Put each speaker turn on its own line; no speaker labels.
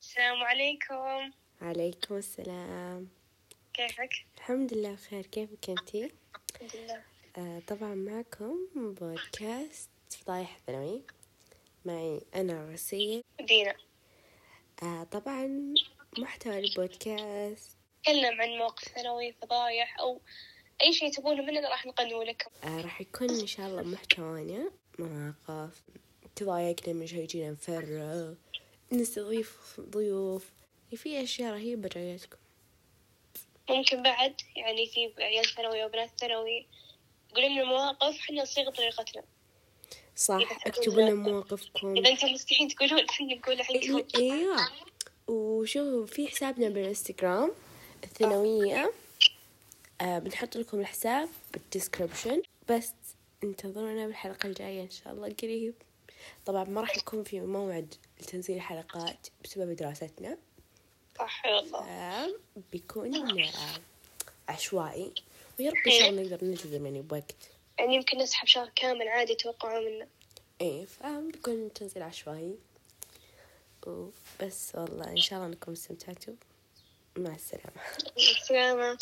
السلام عليكم
عليكم السلام
كيفك؟
الحمد لله بخير كيفك انتي؟
الحمد لله
آه طبعا معكم بودكاست فضايح ثانوي معي أنا رسيل
دينا
آه طبعا محتوى البودكاست
نتكلم عن مواقف ثانوي فضايح أو أي شيء تبونه مننا راح نقدمه لكم
آه راح يكون إن شاء الله محتوانا مواقف تضايقنا من شيء جينا نفرغ نستضيف ضيوف في أشياء رهيبة جايتكم
ممكن بعد يعني في عيال ثانوي وبنات ثانوي يقولوا لنا مواقف حنا نصيغ طريقتنا
صح
إذا تبون
اكتبوا لنا
لا.
مواقفكم
إذا أنتم مستحيل تقولون حنا نقول عندكم
إيه- ايوه وشوفوا في حسابنا بالانستغرام الثانوية آه بنحط لكم الحساب بالديسكربشن بس انتظرونا بالحلقة الجاية ان شاء الله قريب طبعا ما راح يكون في موعد لتنزيل الحلقات بسبب دراستنا
صح والله
آه، بيكون آه، عشوائي ويا رب ان شاء الله نقدر نلتزم يعني بوقت
يعني يمكن نسحب شهر كامل عادي يتوقعوا منا
ايه فبيكون تنزيل عشوائي وبس والله ان شاء الله انكم استمتعتوا مع السلامه
السلامة